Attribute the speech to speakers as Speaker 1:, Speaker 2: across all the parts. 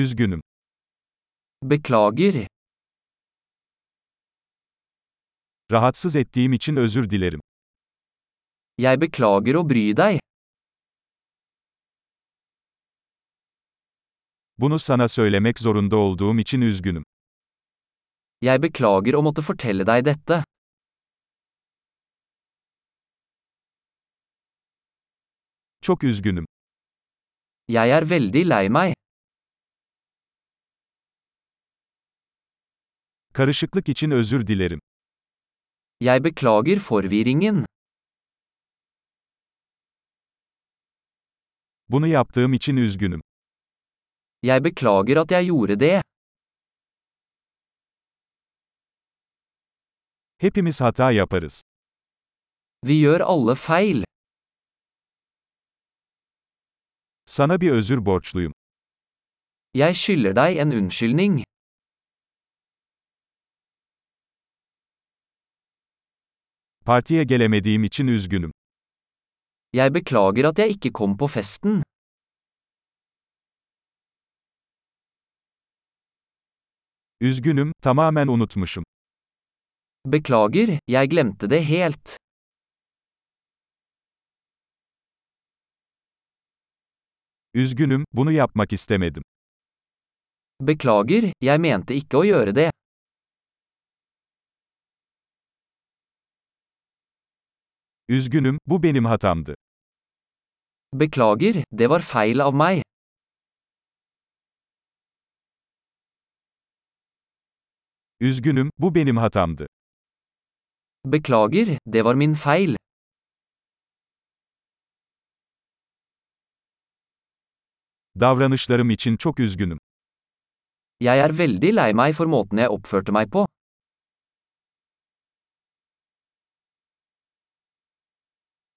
Speaker 1: Üzgünüm.
Speaker 2: Beklager.
Speaker 1: Rahatsız ettiğim için özür dilerim.
Speaker 2: Jeg beklager å bry deg.
Speaker 1: Bunu sana söylemek zorunda olduğum için üzgünüm.
Speaker 2: Jeg beklager å måtte fortelle deg dette.
Speaker 1: Çok üzgünüm.
Speaker 2: Jeg er veldig lei meg.
Speaker 1: Karışıklık için özür dilerim.
Speaker 2: Jeg beklager forvirringen.
Speaker 1: Bunu yaptığım için üzgünüm.
Speaker 2: Jeg beklager at jeg gjorde det.
Speaker 1: Hepimiz hata yaparız.
Speaker 2: Vi gjør alle feil.
Speaker 1: Sana bir özür borçluyum.
Speaker 2: Jeg skylder deg en unnskyldning.
Speaker 1: Partiye gelemediğim için üzgünüm.
Speaker 2: Jeg beklager at jeg ikke kom på festen.
Speaker 1: Üzgünüm, tamamen unutmuşum.
Speaker 2: Beklager, jeg glemte det helt.
Speaker 1: Üzgünüm, bunu yapmak istemedim.
Speaker 2: Beklager, jeg mente ikke å gjøre det.
Speaker 1: Üzgünüm, bu benim hatamdı.
Speaker 2: Beklager, det var feil av meg.
Speaker 1: Üzgünüm, bu benim hatamdı.
Speaker 2: Beklager, det var min feil.
Speaker 1: Davranışlarım için çok üzgünüm.
Speaker 2: Jeg er veldig lei meg for måten jeg oppførte meg på.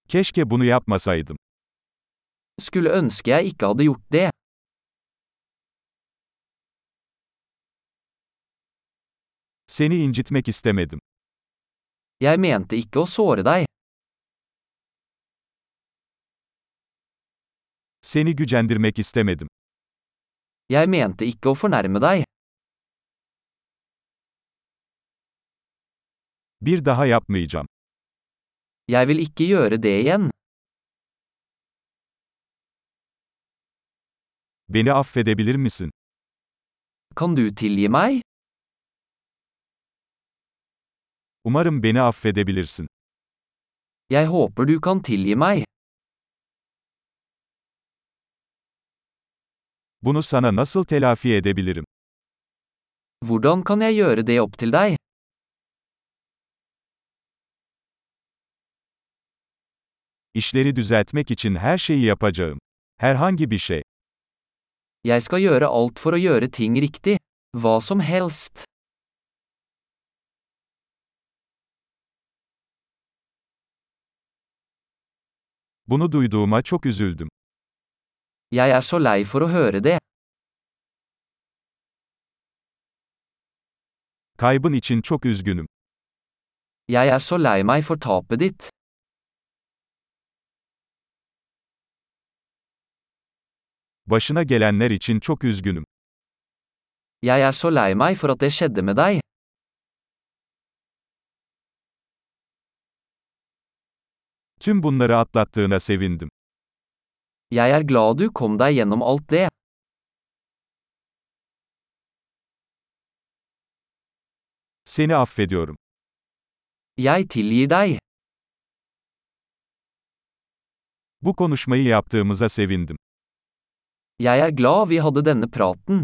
Speaker 1: Keşke bunu yapmasaydım.
Speaker 2: Skulle ønske jeg ikke hadde gjort det.
Speaker 1: Seni incitmek istemedim.
Speaker 2: Jeg mente ikke å såre deg.
Speaker 1: Seni gücendirmek istemedim.
Speaker 2: Jeg mente ikke å fornærme deg.
Speaker 1: Bir daha yapmayacağım.
Speaker 2: Jeg vil ikke gjøre det igjen.
Speaker 1: Beni affedebilir misin?
Speaker 2: Kan du tilgi meg?
Speaker 1: Umarım beni affedebilirsin.
Speaker 2: Jeg håper du kan tilgi meg.
Speaker 1: Bunu sana nasıl telafi edebilirim?
Speaker 2: Hvordan kan jeg gjøre det opp til deg?
Speaker 1: İşleri düzeltmek için her şeyi yapacağım. Herhangi bir şey.
Speaker 2: Jeg skal gjøre alt for å gjøre ting riktig. Hva som helst.
Speaker 1: Bunu duyduğuma çok üzüldüm.
Speaker 2: Jeg er så lei for å høre det.
Speaker 1: Kaybın için çok üzgünüm.
Speaker 2: Jeg er så lei meg for tapet ditt.
Speaker 1: Başına gelenler için çok üzgünüm.
Speaker 2: Jeg er så lei meg for at det skjedde med deg.
Speaker 1: Tüm bunları atlattığına sevindim.
Speaker 2: Jeg er glad du kom deg gjennom alt det.
Speaker 1: Seni affediyorum.
Speaker 2: Jeg tilgir deg.
Speaker 1: Bu konuşmayı yaptığımıza sevindim.
Speaker 2: Jeg er glad vi hadde denne praten.